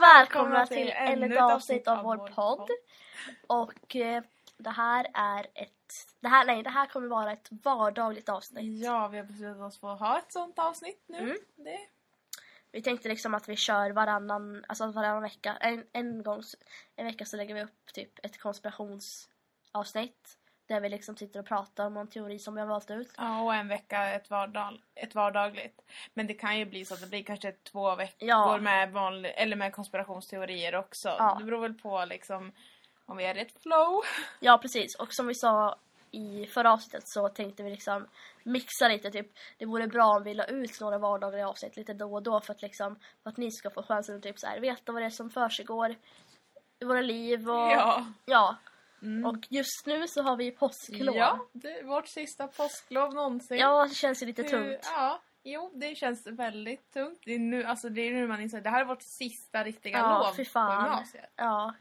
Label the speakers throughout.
Speaker 1: välkomna till ännu ett avsnitt av vår podd. Och eh, det här är ett... Det här, nej, det här kommer vara ett vardagligt avsnitt.
Speaker 2: Ja, vi har beslutat oss för att ha ett sånt avsnitt nu.
Speaker 1: Mm.
Speaker 2: Det.
Speaker 1: Vi tänkte liksom att vi kör varannan, alltså varannan vecka. En, en gång s- en vecka så lägger vi upp typ ett konspirationsavsnitt. Där vi liksom sitter och pratar om en teori som vi har valt ut.
Speaker 2: Ja, och en vecka ett, vardag, ett vardagligt. Men det kan ju bli så att det blir kanske två veckor
Speaker 1: Ja.
Speaker 2: med, vanlig, eller med konspirationsteorier också.
Speaker 1: Ja.
Speaker 2: Det beror väl på liksom om vi är i ett flow.
Speaker 1: Ja, precis. Och som vi sa i förra avsnittet så tänkte vi liksom mixa lite. Typ, det vore bra om vi la ut några vardagliga avsnitt lite då och då för att, liksom, för att ni ska få chansen att typ så här, veta vad det är som försiggår i våra liv. Och,
Speaker 2: Ja.
Speaker 1: Ja.
Speaker 2: Mm.
Speaker 1: Och just nu så har vi påsklov.
Speaker 2: Ja, det är vårt sista påsklov någonsin.
Speaker 1: Ja, det känns ju lite
Speaker 2: Hur-
Speaker 1: tungt.
Speaker 2: Ja, jo det känns väldigt tungt. Det är nu, alltså, det är nu man inser det här är vårt sista riktiga
Speaker 1: Ja,
Speaker 2: lov
Speaker 1: fy fan.
Speaker 2: på gymnasiet.
Speaker 1: Ja.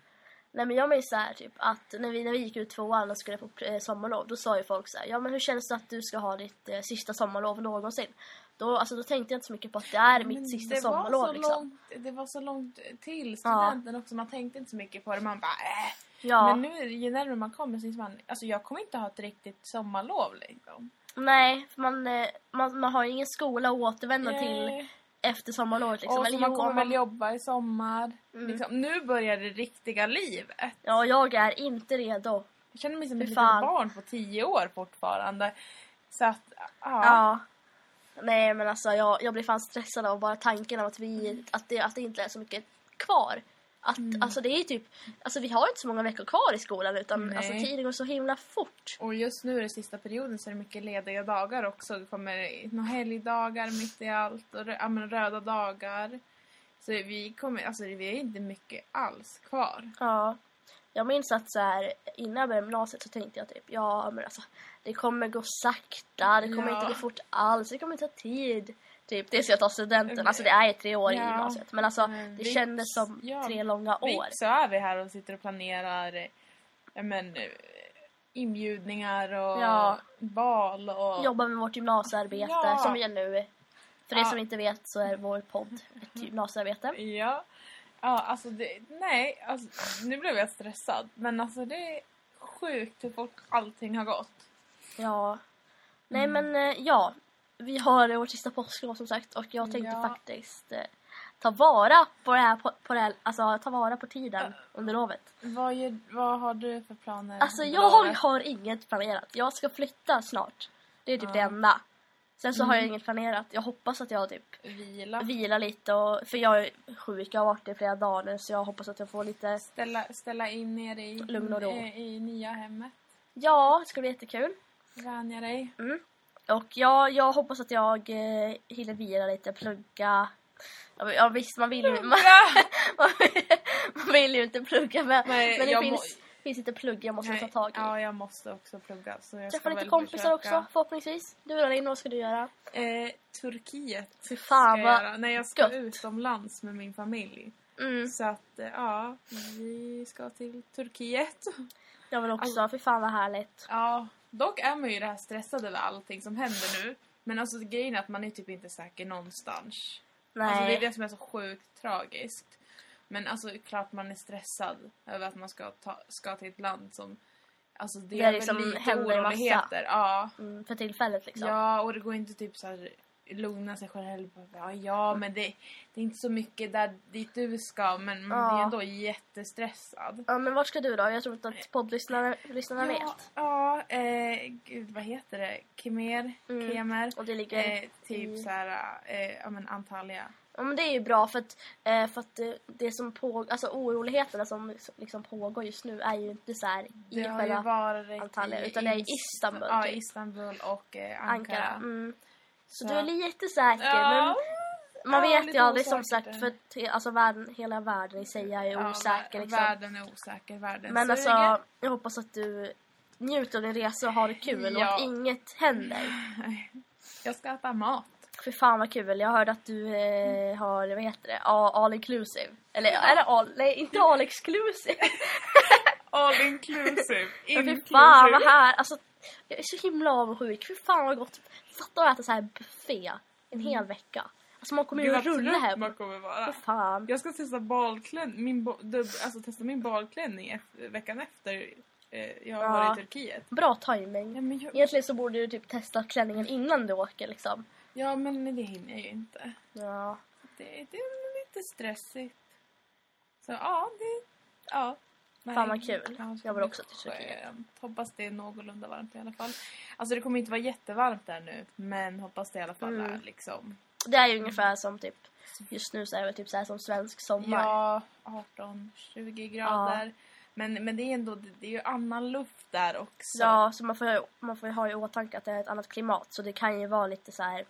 Speaker 1: Nej men jag minns så här, typ att när vi, när vi gick ut tvåan och skulle på eh, sommarlov då sa ju folk så här, ja men hur känns det att du ska ha ditt eh, sista sommarlov någonsin? Då, alltså, då tänkte jag inte så mycket på att det är mitt
Speaker 2: Men
Speaker 1: sista
Speaker 2: det
Speaker 1: sommarlov
Speaker 2: var så
Speaker 1: liksom.
Speaker 2: Långt, det var så långt till studenten också. Man tänkte inte så mycket på det. Man bara äh.
Speaker 1: Ja,
Speaker 2: Men nu ju närmare man kommer så inser man alltså jag kommer inte ha ett riktigt sommarlov liksom.
Speaker 1: nej, för man, eh, man, man har ju ingen skola att återvända till
Speaker 2: Nej.
Speaker 1: efter sommarlovet liksom. Mm.
Speaker 2: Eh, och så
Speaker 1: Eller
Speaker 2: man
Speaker 1: jo,
Speaker 2: kommer
Speaker 1: om
Speaker 2: väl jobba i sommar. Liksom, nu börjar det riktiga livet.
Speaker 1: Ja, jag är inte redo.
Speaker 2: Jag känner mig som
Speaker 1: Fy
Speaker 2: ett litet
Speaker 1: fan.
Speaker 2: barn på tio år fortfarande. Så att, ja.
Speaker 1: Ja. Nej men alltså jag, jag blir fan stressad av bara tanken av att, vi, att, det, att det inte är så mycket kvar. Att,
Speaker 2: Mm.
Speaker 1: Alltså det är ju typ, alltså vi har ju inte så många veckor kvar i skolan utan
Speaker 2: Nej.
Speaker 1: alltså, tiden går så himla fort.
Speaker 2: Och just nu i den sista perioden så är det mycket lediga dagar också. Det kommer några helgdagar mitt i allt och rö- ja, men röda dagar. Så vi kommer, alltså vi är inte mycket alls kvar.
Speaker 1: Ja. Jag minns att så här, innan jag började gymnasiet så tänkte jag typ ja men alltså det kommer gå sakta, det kommer
Speaker 2: Ja.
Speaker 1: inte gå fort alls, det kommer ta tid. Typ det är så jag tar studenten, alltså det är ju tre år i
Speaker 2: Ja.
Speaker 1: gymnasiet men alltså
Speaker 2: Men
Speaker 1: det
Speaker 2: vips,
Speaker 1: kändes som
Speaker 2: ja.
Speaker 1: tre långa år.
Speaker 2: Vips så är vi här och sitter och planerar eh, ja, men, eh, inbjudningar och
Speaker 1: Ja.
Speaker 2: bal och...
Speaker 1: jobbar med vårt gymnasiearbete
Speaker 2: Ja.
Speaker 1: som vi gör nu. För er
Speaker 2: Ja. Mm.
Speaker 1: som inte vet så är vår podd ett gymnasiearbete.
Speaker 2: Ja. Ja, alltså det, nej, alltså, nu blev jag stressad. Men alltså det är sjukt hur fort allting har gått.
Speaker 1: Ja. Nej
Speaker 2: Mm.
Speaker 1: men eh, ja, vi har eh, vårt sista påsklov som sagt och jag tänkte
Speaker 2: Ja.
Speaker 1: faktiskt eh, ta vara på det här, på, på det här alltså ta vara på tiden under lovet.
Speaker 2: Vad, gör, vad har du för planer?
Speaker 1: Alltså
Speaker 2: under
Speaker 1: jag
Speaker 2: året?
Speaker 1: har inget planerat. Jag ska flytta snart. Det är typ
Speaker 2: Ja. Mm.
Speaker 1: det enda. Sen så har jag inget planerat. Jag hoppas att jag typ
Speaker 2: Vila.
Speaker 1: vilar lite och, för jag är sjuk, jag har varit det i flera dagar nu så jag hoppas att jag får lite
Speaker 2: Ställa, ställa in er i,
Speaker 1: Lugn och ro.
Speaker 2: eh, i nya hemmet.
Speaker 1: Ja, det ska bli jättekul.
Speaker 2: Vänja dig.
Speaker 1: Och jag, jag hoppas att jag eh, hinner vila lite, plugga. Ja, men- Ja visst, man vill ju,
Speaker 2: Mm.
Speaker 1: man, man vill, man vill ju inte plugga men,
Speaker 2: Nej,
Speaker 1: men det
Speaker 2: eh, jag
Speaker 1: finns, finns inte plugg jag måste ta tag i.
Speaker 2: Ja, jag måste också plugga. Så jag
Speaker 1: Träffa
Speaker 2: ska
Speaker 1: lite
Speaker 2: väl
Speaker 1: kompisar
Speaker 2: försöka.
Speaker 1: också förhoppningsvis. Du då Linn, vad ska du göra?
Speaker 2: Eh, Turkiet.
Speaker 1: Fy
Speaker 2: Ska
Speaker 1: fan
Speaker 2: jag
Speaker 1: vad...
Speaker 2: göra. Nej, jag ska
Speaker 1: gött.
Speaker 2: utomlands med min familj.
Speaker 1: Mm,
Speaker 2: Så att, eh, ja, vi ska till Turkiet.
Speaker 1: jag vill också,
Speaker 2: Alltså-
Speaker 1: fy fan vad härligt.
Speaker 2: Ja, dock är man ju det här stressade över allting som händer nu. Men alltså grejen är att man är typ inte säker någonstans.
Speaker 1: Nej.
Speaker 2: Alltså, det är det som är så sjukt tragiskt. Men alltså klart man är stressad över att man ska, ta, ska till ett land som... Alltså det,
Speaker 1: Där
Speaker 2: är
Speaker 1: liksom
Speaker 2: väl lite
Speaker 1: händer en massa.
Speaker 2: oroligheter. Ja.
Speaker 1: mm, för tillfället liksom.
Speaker 2: ja, och det går inte typ så här lugna sig själv. Bara, Ja, ja
Speaker 1: Mm.
Speaker 2: men det, det är inte så mycket där dit du ska men man
Speaker 1: Ja.
Speaker 2: är ändå jättestressad.
Speaker 1: Ja, men vart ska du då? Jag tror inte att poddlyssnarna lyssnarna
Speaker 2: Eh. Ja,
Speaker 1: vet.
Speaker 2: ja eh, gud vad heter det? Khmer?
Speaker 1: Mm.
Speaker 2: Khmer?
Speaker 1: Och det ligger...
Speaker 2: Eh, typ
Speaker 1: i-
Speaker 2: så här, eh, ja men Antalya.
Speaker 1: Ja, men det är ju bra för att, eh, för att eh, det som pågår, alltså oroligheterna som liksom pågår just nu är ju inte så här i
Speaker 2: Det har ju
Speaker 1: själva
Speaker 2: varit
Speaker 1: Antalya,
Speaker 2: i
Speaker 1: utan det är i
Speaker 2: Ist-
Speaker 1: Istanbul,
Speaker 2: Ja,
Speaker 1: typ.
Speaker 2: Istanbul och eh, Ankara.
Speaker 1: Ankara. Mm. Så,
Speaker 2: Så-
Speaker 1: du är lite säker,
Speaker 2: Ja,
Speaker 1: men man
Speaker 2: ja,
Speaker 1: vet ju
Speaker 2: lite
Speaker 1: aldrig som
Speaker 2: osäkert.
Speaker 1: sagt för att he- alltså, världen, hela världen i sig är ju
Speaker 2: ja,
Speaker 1: osäker
Speaker 2: vär-
Speaker 1: liksom.
Speaker 2: Världen är osäker, världen
Speaker 1: men
Speaker 2: suger.
Speaker 1: alltså, jag hoppas att du njuter av din resa och har det kul och
Speaker 2: Ja.
Speaker 1: att inget händer.
Speaker 2: Jag ska äta mat.
Speaker 1: Fy fan vad kul, jag hörde att du
Speaker 2: Mm.
Speaker 1: eh, har, vad heter det, A- all inclusive. Eller, eller all, nej inte all exclusive.
Speaker 2: All inclusive.
Speaker 1: Men fy fan vad
Speaker 2: inclusive.
Speaker 1: här, alltså
Speaker 2: Mm.
Speaker 1: jag är så himla avundsjuk. Fy fan vad gott. Fatta att äta så här buffé en hel vecka. Så man kommer ju att rulla hem.
Speaker 2: man kommer vara.
Speaker 1: Vad fan.
Speaker 2: Jag ska testa balklän, min, bo, dubb, alltså, testa min balklänning efter, veckan efter eh, jag har
Speaker 1: Ja.
Speaker 2: varit i Turkiet.
Speaker 1: Bra
Speaker 2: Ja
Speaker 1: timing.
Speaker 2: men, jag,
Speaker 1: Egentligen så borde du typ testa klänningen innan du åker liksom.
Speaker 2: ja, men det hinner jag ju inte.
Speaker 1: Ja.
Speaker 2: Det, det är lite stressigt. Så ja, det... Ja. Nej,
Speaker 1: Fan, vad kul.
Speaker 2: ja, det ska
Speaker 1: Jag vill
Speaker 2: bli
Speaker 1: också till Turkiet.
Speaker 2: skönt. Hoppas det är någorlunda varmt i alla fall. Alltså det kommer inte vara jättevarmt där nu. Men hoppas det i alla fall
Speaker 1: Mm.
Speaker 2: är liksom...
Speaker 1: Det är ju ungefär som typ just nu så är det väl typ så här som svensk sommar.
Speaker 2: Ja, 18-20 grader. Men, men det är ändå det är ju annan luft där också.
Speaker 1: Ja, så man får, ju- man får ju ha i åtanke att det är ett annat klimat. Så det kan ju vara lite så här,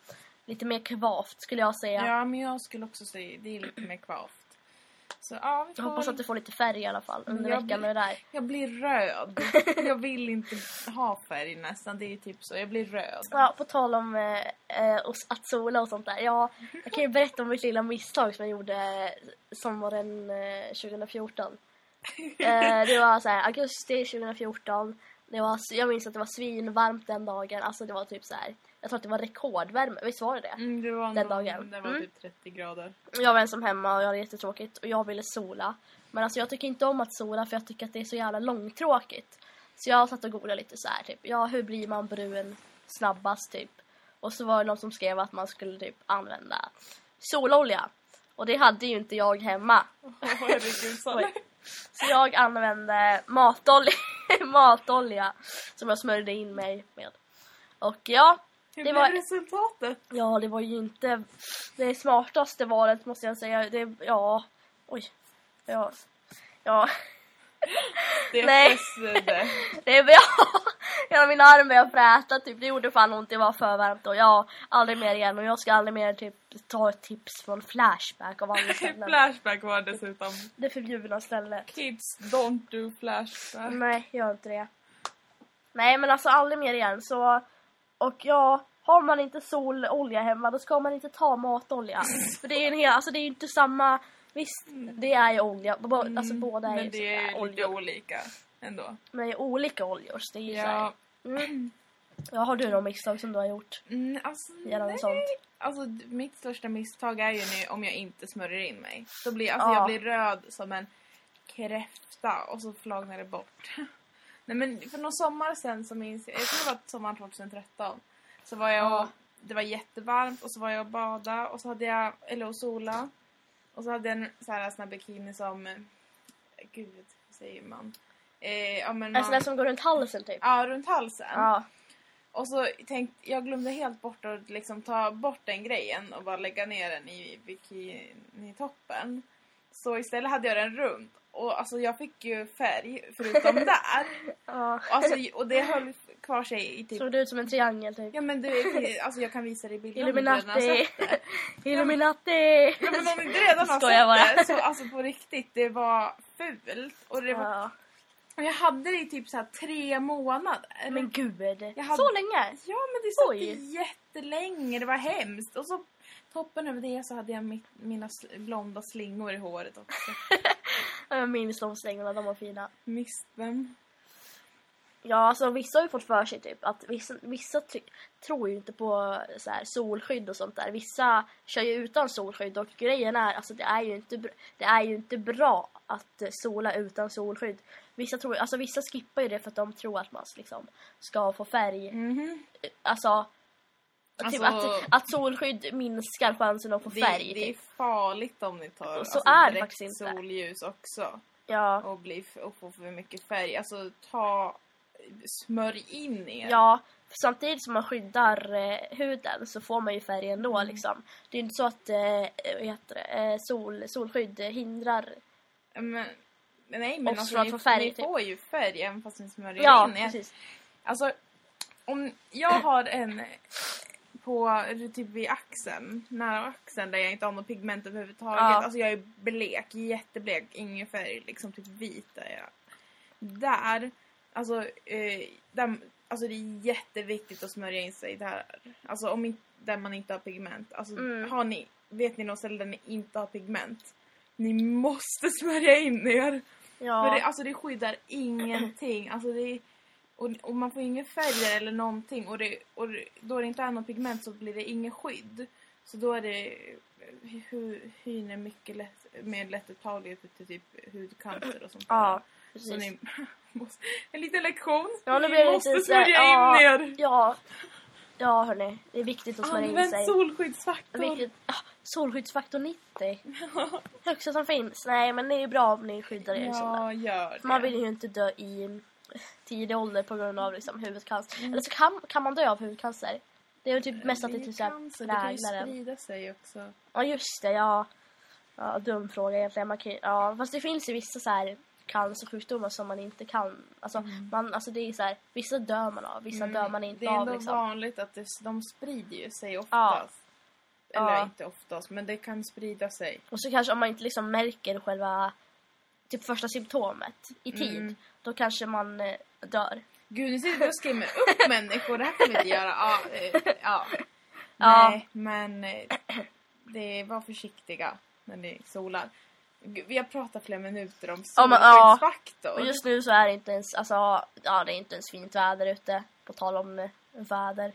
Speaker 1: lite mer kvavt skulle jag säga.
Speaker 2: ja, men jag skulle också säga det är lite mer kvavt. Så ja, vi får
Speaker 1: Jag hoppas att du får lite färg i alla fall under
Speaker 2: Jag
Speaker 1: veckan
Speaker 2: blir-
Speaker 1: och det där.
Speaker 2: Jag blir röd. Jag vill inte ha färg nästan. Det är ju typ så. Jag blir röd.
Speaker 1: Ja, på tal om eh, eh, och s- att sola och sånt där. Ja, jag kan ju berätta om mitt lilla misstag som jag gjorde eh, sommaren eh, 2014. Eh, det var så här, augusti 2014. Det var, jag minns att det var svinvarmt den dagen. Alltså det var typ så här, jag tror att det var rekordvärme. Visst var det det?
Speaker 2: Mm, det var
Speaker 1: Den
Speaker 2: någon-
Speaker 1: dagen.
Speaker 2: Det var
Speaker 1: Mm.
Speaker 2: typ 30 grader.
Speaker 1: Jag var ensam hemma och jag hade jättetråkigt och jag ville sola. Men alltså jag tycker inte om att sola för jag tycker att det är så jävla långtråkigt. Så jag satt och googlade lite så här typ, ja hur blir man brun snabbast typ? Och så var det någon som skrev att man skulle typ använda sololja. Och det hade ju inte jag hemma.
Speaker 2: Åh, Herregud, Sanna.
Speaker 1: Oj. Så jag använde matolja, matolja som jag smörjde in mig med. Och ja,
Speaker 2: Hur
Speaker 1: Det
Speaker 2: blev
Speaker 1: var-
Speaker 2: resultatet?
Speaker 1: Ja, det var ju inte det smartaste valet måste jag säga. Det, ja, oj. Ja, ja.
Speaker 2: Det
Speaker 1: Nej.
Speaker 2: pressade.
Speaker 1: Det är ja. Hela min arm började fräta typ. Det gjorde fan ont. Det var för varmt och jag aldrig mer igen. Och jag ska aldrig mer typ ta ett tips från Flashback av alla ställen.
Speaker 2: flashback var dessutom.
Speaker 1: Det förbjudna stället.
Speaker 2: Kids don't do flashback.
Speaker 1: Nej, gör inte det. Nej, men alltså aldrig mer igen. Så, och ja, har man inte sololja hemma då ska man inte ta matolja. För det är ju en hel, alltså det är ju inte samma, visst, det är ju olja. Bo,
Speaker 2: Mm,
Speaker 1: alltså båda är ju
Speaker 2: Men det är
Speaker 1: sådär
Speaker 2: ju lite
Speaker 1: oljor.
Speaker 2: olika ändå.
Speaker 1: Men det är olika oljor. Så det är ju
Speaker 2: Ja,
Speaker 1: så här. Mm. ja, har du något misstag som du har gjort?
Speaker 2: mm, alltså,
Speaker 1: Gällande
Speaker 2: nej.
Speaker 1: sånt.
Speaker 2: Alltså, d- mitt största misstag är ju nu om jag inte smörjer in mig. Då blir, alltså,
Speaker 1: Ja.
Speaker 2: Jag blir röd som en kräfta och så flagnar det bort. Nej, men för någon sommar sen så minns jag, jag tror det var sommaren 2013. Så var jag
Speaker 1: Ja.
Speaker 2: och, det var jättevarmt och så var jag och bada och så hade jag, eller och sola. Och så hade jag en så här, sån här bikini som, eh, gud, hur säger man? Eh, ja, men
Speaker 1: En sån där
Speaker 2: man
Speaker 1: som går runt halsen typ?
Speaker 2: ja, runt halsen.
Speaker 1: Alltså, Ja.
Speaker 2: Och så tänkte jag glömde helt bort att liksom ta bort den grejen och bara lägga ner den i bikinitoppen. Så istället hade jag den runt. Och alltså jag fick ju färg förutom där.
Speaker 1: ja.
Speaker 2: Och, alltså, och det höll kvar sig i typ...
Speaker 1: Såg du ut som en triangel typ?
Speaker 2: Ja men du, alltså jag kan visa dig bilder om du redan har
Speaker 1: Illuminati!
Speaker 2: sett det.
Speaker 1: Illuminati!
Speaker 2: Ja men om du inte redan har
Speaker 1: Skojar bara.
Speaker 2: sett det. Så alltså på riktigt, det var fult. Och, det var,
Speaker 1: Ja.
Speaker 2: och jag hade det i typ så här tre månader.
Speaker 1: Men gud!
Speaker 2: Jag hade-
Speaker 1: Så länge!
Speaker 2: Ja men det satt
Speaker 1: Oj.
Speaker 2: i jättelänge, det var hemskt. Och så toppen över det så hade jag mitt, mina sl- blonda slingor i håret också.
Speaker 1: Jag minns de slingorna, de var fina.
Speaker 2: Mist dem.
Speaker 1: Ja, alltså vissa har ju fått för sig typ att vissa, vissa ty- tror ju inte på så här, solskydd och sånt där. Vissa kör ju utan solskydd och grejen är alltså det är ju inte, br- det är ju inte bra att eh, sola utan solskydd. Vissa, tror, alltså, vissa skippar ju det för att de tror att man liksom, ska få färg.
Speaker 2: Mhm.
Speaker 1: Alltså,
Speaker 2: Alltså,
Speaker 1: typ att, att solskydd minskar chansen att få
Speaker 2: Det,
Speaker 1: färg.
Speaker 2: det är
Speaker 1: typ.
Speaker 2: farligt om ni tar alltså,
Speaker 1: Så är det
Speaker 2: direkt
Speaker 1: faktiskt inte.
Speaker 2: solljus också
Speaker 1: Ja.
Speaker 2: och, blir, f- och får för mycket färg. Alltså ta, smörj in er.
Speaker 1: Ja, för samtidigt som man skyddar eh, huden så får man ju färg ändå
Speaker 2: Mm.
Speaker 1: liksom. Det är ju inte så att eh, vad heter det, eh, sol, solskydd hindrar.
Speaker 2: Men, men nej
Speaker 1: Och
Speaker 2: men
Speaker 1: så
Speaker 2: alltså,
Speaker 1: att
Speaker 2: ni,
Speaker 1: få färg,
Speaker 2: ni
Speaker 1: typ.
Speaker 2: får ju färg även fast ni smörjer
Speaker 1: Ja,
Speaker 2: in er.
Speaker 1: precis.
Speaker 2: Alltså, om jag har en på typ vid axeln, nära axeln där jag inte har något pigment överhuvudtaget.
Speaker 1: Ja.
Speaker 2: Alltså jag är blek, jätteblek, ingen färg, liksom typ vit är jag. Där, alltså, eh, där, alltså det är jätteviktigt att smörja in sig där. Alltså om inte, där man inte har pigment. Alltså
Speaker 1: Mm.
Speaker 2: har ni, vet ni något ställe där ni inte har pigment? Ni måste smörja in er! För det,
Speaker 1: Ja,
Speaker 2: alltså det skyddar ingenting. Alltså det, och, och man får ingen färger eller någonting. Och, det, och det, då det inte är något pigment så blir det ingen skydd. Så då är det hu- hyn är mycket lätt, mer lättåtaglig för till typ hudcancer och sånt
Speaker 1: Ja,
Speaker 2: där. Så
Speaker 1: precis.
Speaker 2: ni, måste- en liten lektion.
Speaker 1: Ja, nu
Speaker 2: ni
Speaker 1: blir det
Speaker 2: måste
Speaker 1: lite så här-
Speaker 2: smörja
Speaker 1: ja,
Speaker 2: in er.
Speaker 1: Ja, ja hörni. Det är viktigt att smörja in
Speaker 2: Använd
Speaker 1: sig.
Speaker 2: solskyddsfaktor.
Speaker 1: Vilket, ah, solskyddsfaktor 90. Högsta som finns. Nej, men det är ju bra om ni skyddar er. Ja,
Speaker 2: Ja, gör det.
Speaker 1: man vill ju inte dö i tidig ålder på grund av liksom, huvudcancer. Eller så kan, kan man dö av huvudcancer. Det är ju typ mest att det
Speaker 2: är
Speaker 1: typ så här
Speaker 2: cancer, Mm. Eh, Det kan ju
Speaker 1: präglar en.
Speaker 2: sprida sig också.
Speaker 1: Ja, just det. Ja. ja dum fråga egentligen. Man kan, ju- ja, fast det finns ju vissa så här cancersjukdomar som man inte kan. Alltså, man, alltså det är så här, vissa dör man av, vissa dör man inte
Speaker 2: Mm. Det
Speaker 1: av.
Speaker 2: är ändå
Speaker 1: Liksom.
Speaker 2: vanligt att det, de sprider ju sig oftast. Eller
Speaker 1: Ja.
Speaker 2: inte oftast, men det kan sprida sig.
Speaker 1: Och så kanske om man inte liksom märker själva typ första symptomet i tid,
Speaker 2: Mm.
Speaker 1: då kanske man eh, dör.
Speaker 2: Gud, nu sitter vi och skrämmer upp människor. Det här kan vi inte göra. Ja, eh, ja.
Speaker 1: Ja.
Speaker 2: Nej, men eh, det var försiktiga när ni solar. Gud, Vi har pratat flera minuter om
Speaker 1: Ja, men, ja.
Speaker 2: solskyddsfaktor.
Speaker 1: Och just nu så är det inte ens, alltså, ja, det är inte ens fint väder ute, på tal om eh, väder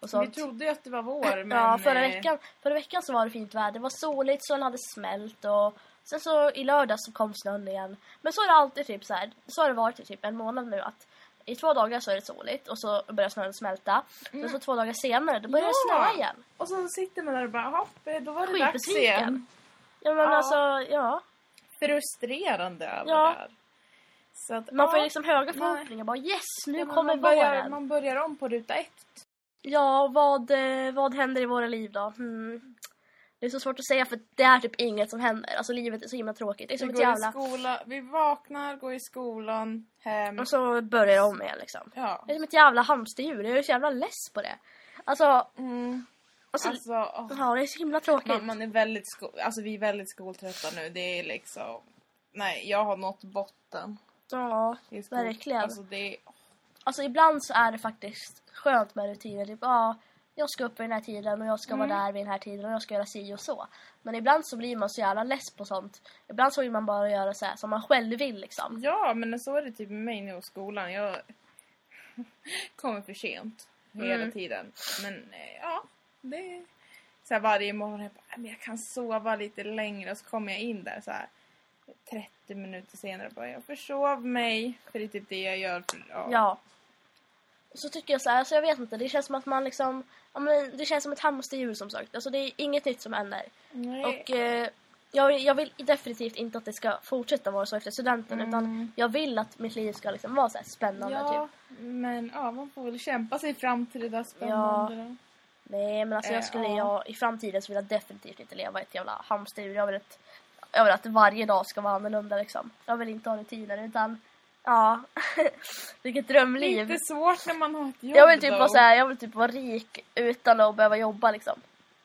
Speaker 1: och
Speaker 2: vi
Speaker 1: sånt.
Speaker 2: trodde ju att det var vår, men...
Speaker 1: ja, förra
Speaker 2: eh,
Speaker 1: veckan, förra veckan så var det fint väder, det var soligt, solen hade smält och sen så i lördags så kom snön igen. Men så är det alltid typ så här, så har det varit i typ en månad nu att i två dagar så är det soligt och så börjar snön smälta. Sen så två dagar senare då börjar det
Speaker 2: Mm. Ja.
Speaker 1: snöa igen.
Speaker 2: Och så sitter man där och bara, hopp, eh, då var det dags igen.
Speaker 1: Skitbesviken. Ja men
Speaker 2: Ja.
Speaker 1: alltså, ja.
Speaker 2: frustrerande över
Speaker 1: Ja.
Speaker 2: det här. Så att,
Speaker 1: Man får ju
Speaker 2: ja,
Speaker 1: liksom höga
Speaker 2: Nej.
Speaker 1: förhoppningar. Bara yes, nu
Speaker 2: ja, men
Speaker 1: kommer
Speaker 2: man börjar,
Speaker 1: våren.
Speaker 2: Man börjar om på ruta ett.
Speaker 1: Ja, vad, eh, vad händer i våra liv då? Hmm. Det är så svårt att säga för det är typ inget som händer. Alltså livet är så himla tråkigt. Det är som
Speaker 2: vi,
Speaker 1: ett
Speaker 2: går i
Speaker 1: jävla...
Speaker 2: skola, vi vaknar, går i skolan, hem.
Speaker 1: Och så börjar det om igen liksom.
Speaker 2: Ja.
Speaker 1: Det är som ett jävla hamsterdjur. Jag är så jävla less på det. Alltså,
Speaker 2: Mm.
Speaker 1: alltså,
Speaker 2: Alltså, åh,
Speaker 1: ja, det är så himla tråkigt.
Speaker 2: man, man är väldigt sko- alltså, vi är väldigt skoltrötta nu. Det är liksom... Nej, jag har nått botten.
Speaker 1: Ja,
Speaker 2: i skol-
Speaker 1: verkligen.
Speaker 2: Alltså, det är...
Speaker 1: Alltså ibland så är det faktiskt skönt med rutiner. Typ, ja, jag ska upp vid den här tiden och jag ska vara där vid den här tiden och jag ska göra si och så. Men ibland så blir man så jävla less på sånt. Ibland så vill man bara göra så här som man själv vill liksom.
Speaker 2: Ja, men så är det typ med mig nu i skolan. Jag kommer för sent hela
Speaker 1: Mm.
Speaker 2: tiden. Men eh, ja, det är så här varje morgon. Jag, bara, "Nej, men jag kan sova lite längre och så kommer jag in där så här 30 minuter senare och bara jag försov mig. För det är typ det jag gör. För, ja.
Speaker 1: Ja. Och Så tycker jag så här, alltså jag vet inte, det känns som att man liksom, ja, men det känns som ett hamsterdjur som sagt. Alltså det är inget nytt som händer.
Speaker 2: Nej.
Speaker 1: Och eh, jag, jag vill definitivt inte att det ska fortsätta vara så efter studenten
Speaker 2: Mm.
Speaker 1: utan jag vill att mitt liv ska liksom vara så här spännande typ.
Speaker 2: ja, men ja, man får väl kämpa sig fram till det där spännande. då.
Speaker 1: Nej men alltså jag
Speaker 2: Eh,
Speaker 1: skulle
Speaker 2: ja.
Speaker 1: jag, i framtiden så vill jag definitivt inte leva i ett jävla hamsterdjur. Jag vill, att- jag vill att varje dag ska vara annorlunda liksom. Jag vill inte ha rutiner utan ja, vilket
Speaker 2: Det är
Speaker 1: drömliv.
Speaker 2: inte svårt när man har ett jobb
Speaker 1: Jag vill, typ
Speaker 2: då.
Speaker 1: vara så här, jag vill typ vara rik utan att behöva jobba liksom.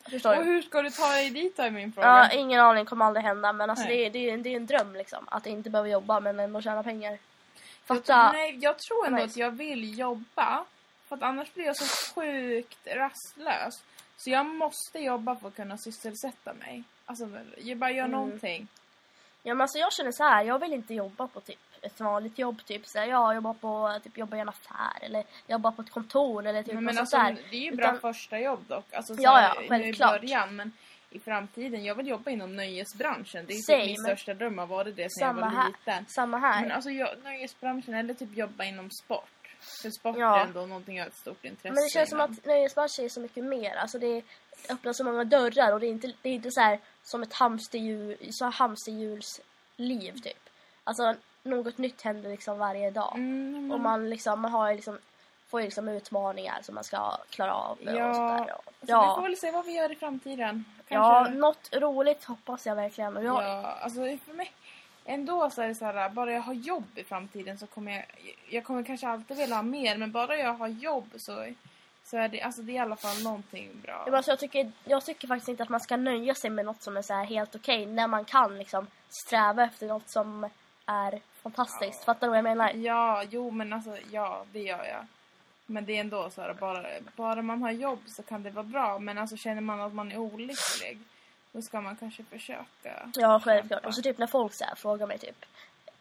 Speaker 1: Förstår
Speaker 2: Och
Speaker 1: du?
Speaker 2: hur ska du ta dig dit då är min fråga.
Speaker 1: Ja, ingen aning, kommer aldrig hända men alltså
Speaker 2: Nej.
Speaker 1: det är, det, är, en- det är en dröm liksom. Att inte behöva jobba men ändå tjäna pengar.
Speaker 2: Jag,
Speaker 1: Fatta.
Speaker 2: tror- nej, jag tror ändå
Speaker 1: Nej.
Speaker 2: att jag vill jobba. För att annars blir jag så sjukt rastlös. Så jag måste jobba för att kunna sysselsätta mig. Alltså, jag bara gör
Speaker 1: Mm.
Speaker 2: någonting.
Speaker 1: Ja, men alltså jag känner så här, jag vill inte jobba på typ ett vanligt jobb. Typ så här, jag jobbar på typ, jobbar i en affär eller jobbar på ett kontor eller typ
Speaker 2: Men,
Speaker 1: något
Speaker 2: men
Speaker 1: sånt
Speaker 2: alltså,
Speaker 1: där.
Speaker 2: det är ju bra
Speaker 1: Utan-
Speaker 2: första jobb dock. Alltså, så
Speaker 1: Ja,
Speaker 2: här,
Speaker 1: ja,
Speaker 2: nu i
Speaker 1: självklart.
Speaker 2: början, men i framtiden. Jag vill jobba inom nöjesbranschen. Det är
Speaker 1: Same.
Speaker 2: typ min största dröm. Har varit det sen jag
Speaker 1: Samma
Speaker 2: var
Speaker 1: här.
Speaker 2: liten.
Speaker 1: Samma här.
Speaker 2: Men alltså, jag, nöjesbranschen eller typ jobba inom sport. För sport
Speaker 1: Ja.
Speaker 2: är ändå någonting jag har ett stort intresse
Speaker 1: men det känns som
Speaker 2: inom.
Speaker 1: att nöjesbranschen är så mycket mer. Alltså det öppnar så många dörrar och det är inte, det är inte så här som ett hamsterhjul, så här hamsterhjulsliv typ. Alltså något nytt händer liksom varje dag.
Speaker 2: Mm,
Speaker 1: Och man liksom, man har ju liksom, får ju liksom utmaningar som man ska klara av
Speaker 2: Ja.
Speaker 1: och sådär. Och,
Speaker 2: Så vi får väl se vad vi gör i framtiden.
Speaker 1: Ja, något roligt hoppas jag verkligen. Och jag,
Speaker 2: Ja, alltså för mig ändå så är det så här, bara jag har jobb i framtiden så kommer jag, jag kommer kanske alltid vilja ha mer, men bara jag har jobb så, så är det, alltså det är i alla fall någonting bra.
Speaker 1: jag, bara, så jag, tycker, jag tycker faktiskt inte att man ska nöja sig med något som är så här helt okej när man kan liksom sträva efter något som är fantastiskt. Fattar du vad jag menar?
Speaker 2: Ja, jo men alltså, ja det gör jag. Men det är ändå så här, bara, bara man har jobb så kan det vara bra, men alltså känner man att man är olycklig då ska man kanske försöka.
Speaker 1: Ja, självklart. Och så typ när folk så här frågar mig typ,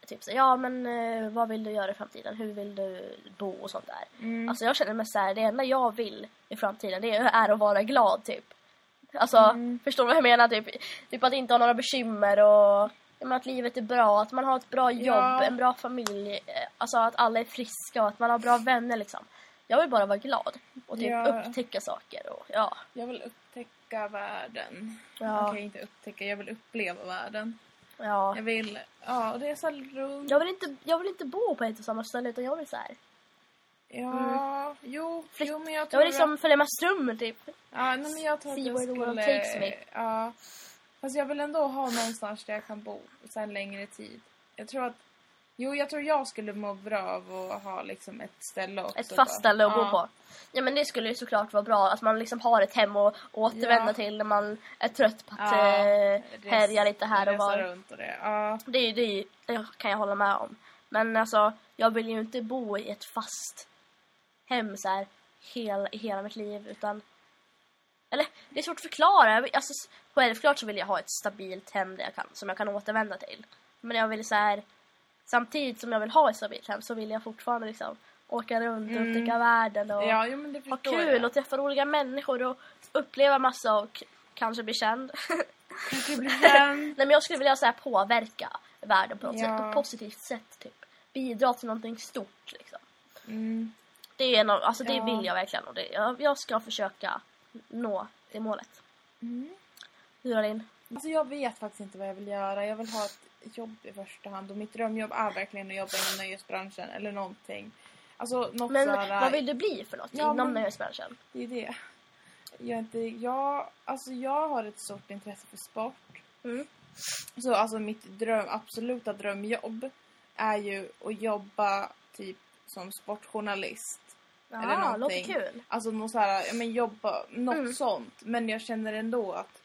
Speaker 1: typ så, här, ja men eh, vad vill du göra i framtiden? Hur vill du bo och sånt där?
Speaker 2: Mm.
Speaker 1: Alltså jag känner mig så här, det enda jag vill i framtiden det är att vara glad typ. Alltså,
Speaker 2: Mm.
Speaker 1: förstår du vad jag menar? Typ, typ att inte ha några bekymmer och jag menar, att livet är bra, att man har ett bra jobb,
Speaker 2: Ja.
Speaker 1: en bra familj, eh, alltså att alla är friska och att man har bra vänner liksom. Jag vill bara vara glad och typ
Speaker 2: Ja.
Speaker 1: upptäcka saker och ja.
Speaker 2: Jag vill upptäcka världen.
Speaker 1: Ja.
Speaker 2: Okej, inte upptäcka, jag vill uppleva världen.
Speaker 1: ja.
Speaker 2: Jag vill ja, resa runt.
Speaker 1: Jag vill, inte, jag vill inte bo på ett och samma ställe utan jag vill så här.
Speaker 2: Ja,
Speaker 1: Mm.
Speaker 2: jo,
Speaker 1: Flytt-
Speaker 2: jo, men jag
Speaker 1: Jag
Speaker 2: tror
Speaker 1: vill liksom följa med strömmen typ.
Speaker 2: att... Ja, nej, men jag tror att
Speaker 1: see
Speaker 2: jag
Speaker 1: where the world
Speaker 2: skulle...
Speaker 1: takes me.
Speaker 2: Ja. Fast jag vill ändå ha någonstans där jag kan bo så en längre tid. Jag tror att... Jo, jag tror jag skulle må bra av att ha liksom ett ställe också.
Speaker 1: Ett fast
Speaker 2: bara.
Speaker 1: ställe att
Speaker 2: ja.
Speaker 1: bo på. Ja men det skulle ju såklart vara bra att man liksom har ett hem att återvända
Speaker 2: Ja.
Speaker 1: till när man är trött på att
Speaker 2: Ja,
Speaker 1: eh,
Speaker 2: res-
Speaker 1: härja lite här och
Speaker 2: resa
Speaker 1: var.
Speaker 2: runt och det. Ja.
Speaker 1: Det, är ju- det, är ju- det kan jag hålla med om. Men alltså, jag vill ju inte bo i ett fast hem så här hel, i hela mitt liv utan... Eller, det är svårt att förklara. Jag vill- Alltså, s- självklart så vill jag ha ett stabilt hem där jag kan, som jag kan återvända till. Men jag vill så här... Samtidigt som jag vill ha ett stabilt hem så vill jag fortfarande liksom åka runt och
Speaker 2: Mm.
Speaker 1: upptäcka världen och
Speaker 2: ja, jo men det
Speaker 1: ha
Speaker 2: förstår
Speaker 1: kul
Speaker 2: jag.
Speaker 1: och träffa roliga människor och uppleva massa och kanske bli känd.
Speaker 2: Kanske bli känd.
Speaker 1: Nej men jag skulle vilja så här påverka världen på något
Speaker 2: Ja.
Speaker 1: sätt, på ett positivt sätt typ. Bidra till någonting stort liksom.
Speaker 2: Mm.
Speaker 1: Det är en av, alltså det
Speaker 2: Ja.
Speaker 1: vill jag verkligen och det, jag, jag ska försöka nå det målet.
Speaker 2: Mm.
Speaker 1: Du då Linn?
Speaker 2: Alltså jag vet faktiskt inte vad jag vill göra. Jag vill ha ett jobb i första hand. Och mitt drömjobb är verkligen att jobba inom nöjesbranschen eller någonting. Alltså något
Speaker 1: Men
Speaker 2: sådär...
Speaker 1: vad vill du bli för något
Speaker 2: Ja,
Speaker 1: inom
Speaker 2: men-
Speaker 1: nöjesbranschen?
Speaker 2: Det är det. Jag, är inte, jag, alltså jag har ett stort intresse för sport.
Speaker 1: Mm.
Speaker 2: Så alltså mitt dröm, absoluta drömjobb är ju att jobba typ som sportjournalist. Eller
Speaker 1: Ja, låter
Speaker 2: någonting.
Speaker 1: kul.
Speaker 2: Alltså något så här, ja, men jobba, något
Speaker 1: Mm.
Speaker 2: sånt. Men jag känner ändå att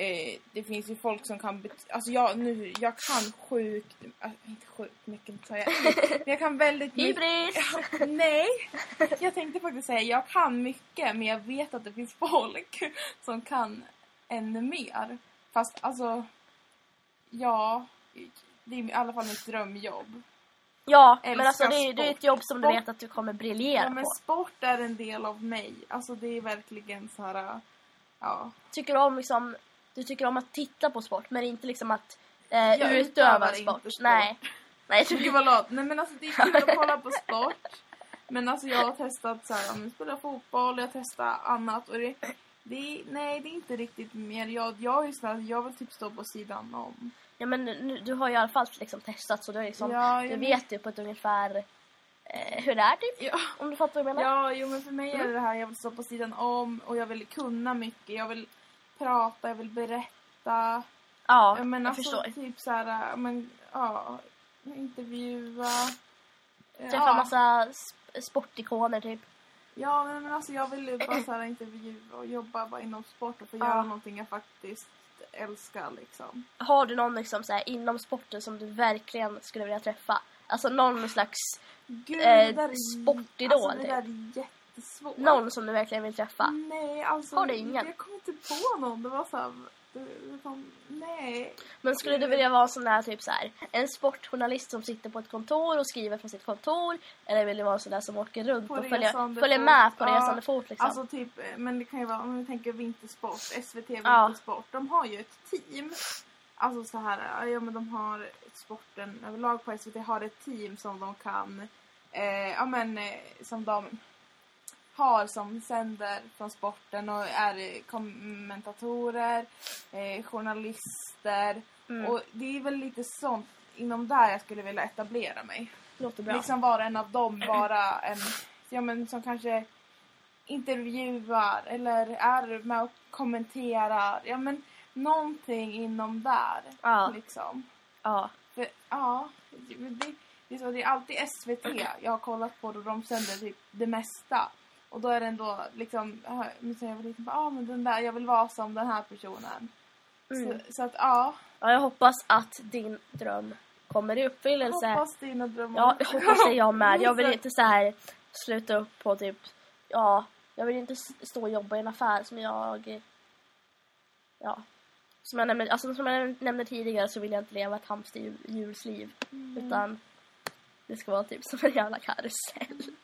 Speaker 2: eh, det finns ju folk som kan, bet- alltså jag, nu, jag kan sjukt, äh, inte sjukt mycket nu tar jag i, men jag kan väldigt mycket.
Speaker 1: Hybris!
Speaker 2: Nej, jag tänkte faktiskt säga jag kan mycket men jag vet att det finns folk som kan ännu mer. Fast alltså, ja, det är i alla fall mitt drömjobb.
Speaker 1: Ja,
Speaker 2: Älskar
Speaker 1: men alltså det, är- det är ett
Speaker 2: sport.
Speaker 1: jobb som du
Speaker 2: Sport.
Speaker 1: vet att du kommer briljera
Speaker 2: Ja, men
Speaker 1: på.
Speaker 2: sport är en del av mig. Alltså det är verkligen så här, ja.
Speaker 1: Tycker du om liksom, du tycker om att titta på sport men inte liksom att eh,
Speaker 2: Jag
Speaker 1: utöva
Speaker 2: utövar
Speaker 1: sport.
Speaker 2: inte sport.
Speaker 1: Nej. Nej,
Speaker 2: Gud
Speaker 1: du,
Speaker 2: vad lat. Nej men alltså det är kul att kolla på sport. Men alltså jag har testat så här, ja, men spela fotboll, jag har testat annat och det, det är, nej det är inte riktigt mer. Jag, jag är ju sån här, jag vill typ stå på sidan om.
Speaker 1: ja, men nu, du har ju i alla fall liksom testat så du, har liksom,
Speaker 2: Ja,
Speaker 1: du
Speaker 2: jag
Speaker 1: vet ju på ett ungefär eh, hur det är typ.
Speaker 2: Ja,
Speaker 1: Om du fattar vad jag menar.
Speaker 2: ja jo men för mig är det det här, jag vill stå på sidan om och jag vill kunna mycket. Jag vill prata, jag vill berätta.
Speaker 1: Ja,
Speaker 2: Ja, men
Speaker 1: jag
Speaker 2: alltså
Speaker 1: förstår.
Speaker 2: typ så här, ja, men ja, intervjua.
Speaker 1: Träffa
Speaker 2: Ja.
Speaker 1: massa sp- sportikoner typ.
Speaker 2: Ja, men, men alltså jag vill ju bara så här intervjua och jobba bara inom sport och få
Speaker 1: Ja.
Speaker 2: göra någonting jag faktiskt älskar liksom.
Speaker 1: Har du någon liksom, så här, inom sporten som du verkligen skulle vilja träffa? Alltså någon slags,
Speaker 2: Gud,
Speaker 1: Eh,
Speaker 2: det där är-
Speaker 1: sportidol,
Speaker 2: Alltså det
Speaker 1: typ.
Speaker 2: där är jättesvårt.
Speaker 1: någon som du verkligen vill träffa.
Speaker 2: Nej, alltså.
Speaker 1: Har du ingen?
Speaker 2: Jag kom inte på någon. Det var så här, det, det kom, nej.
Speaker 1: Men skulle du vilja vara sån där typ så här, en sportjournalist som sitter på ett kontor och skriver från sitt kontor? Eller vill du vara sån där som åker runt
Speaker 2: På
Speaker 1: och följer,
Speaker 2: resande
Speaker 1: följer
Speaker 2: fot.
Speaker 1: med på
Speaker 2: Ja,
Speaker 1: resande fot liksom?
Speaker 2: Alltså typ, eh, men det kan ju vara om vi tänker vintersport, SVT
Speaker 1: Ja.
Speaker 2: vintersport. De har ju ett team. Alltså så här, ja men de har sporten överlag på SVT har ett team som de kan, eh, ja men eh, som de har som sänder från sporten och är eh, kommentatorer, eh, journalister
Speaker 1: Mm.
Speaker 2: och det är väl lite sånt inom där jag skulle vilja etablera mig.
Speaker 1: låter bra.
Speaker 2: Liksom vara en av dem, vara en ja, men, som kanske intervjuar eller är med och kommenterar. Ja, men, någonting inom där.
Speaker 1: Ja.
Speaker 2: Liksom.
Speaker 1: Ja.
Speaker 2: För, ja, men det, det, är så, det är alltid SVT jag har kollat på och de sänder typ det mesta. Och då är det ändå liksom, ja, men sen jag var liten, bara, ah, men den där, jag vill vara som den här personen.
Speaker 1: Mm.
Speaker 2: Så, så att ja,
Speaker 1: ja, jag hoppas att din dröm kommer i uppfyllelse.
Speaker 2: hoppas dina drömmar.
Speaker 1: Alltså, Ja, jag hoppas det jag med. Jag
Speaker 2: Alltså.
Speaker 1: vill inte så här sluta upp på typ, ja, jag vill inte s- stå och jobba i en affär som jag, ja, som jag nämnde, alltså, som jag nämnde tidigare så vill jag inte leva ett hamsterhjulsliv. Utan det ska vara typ som en jävla karusell.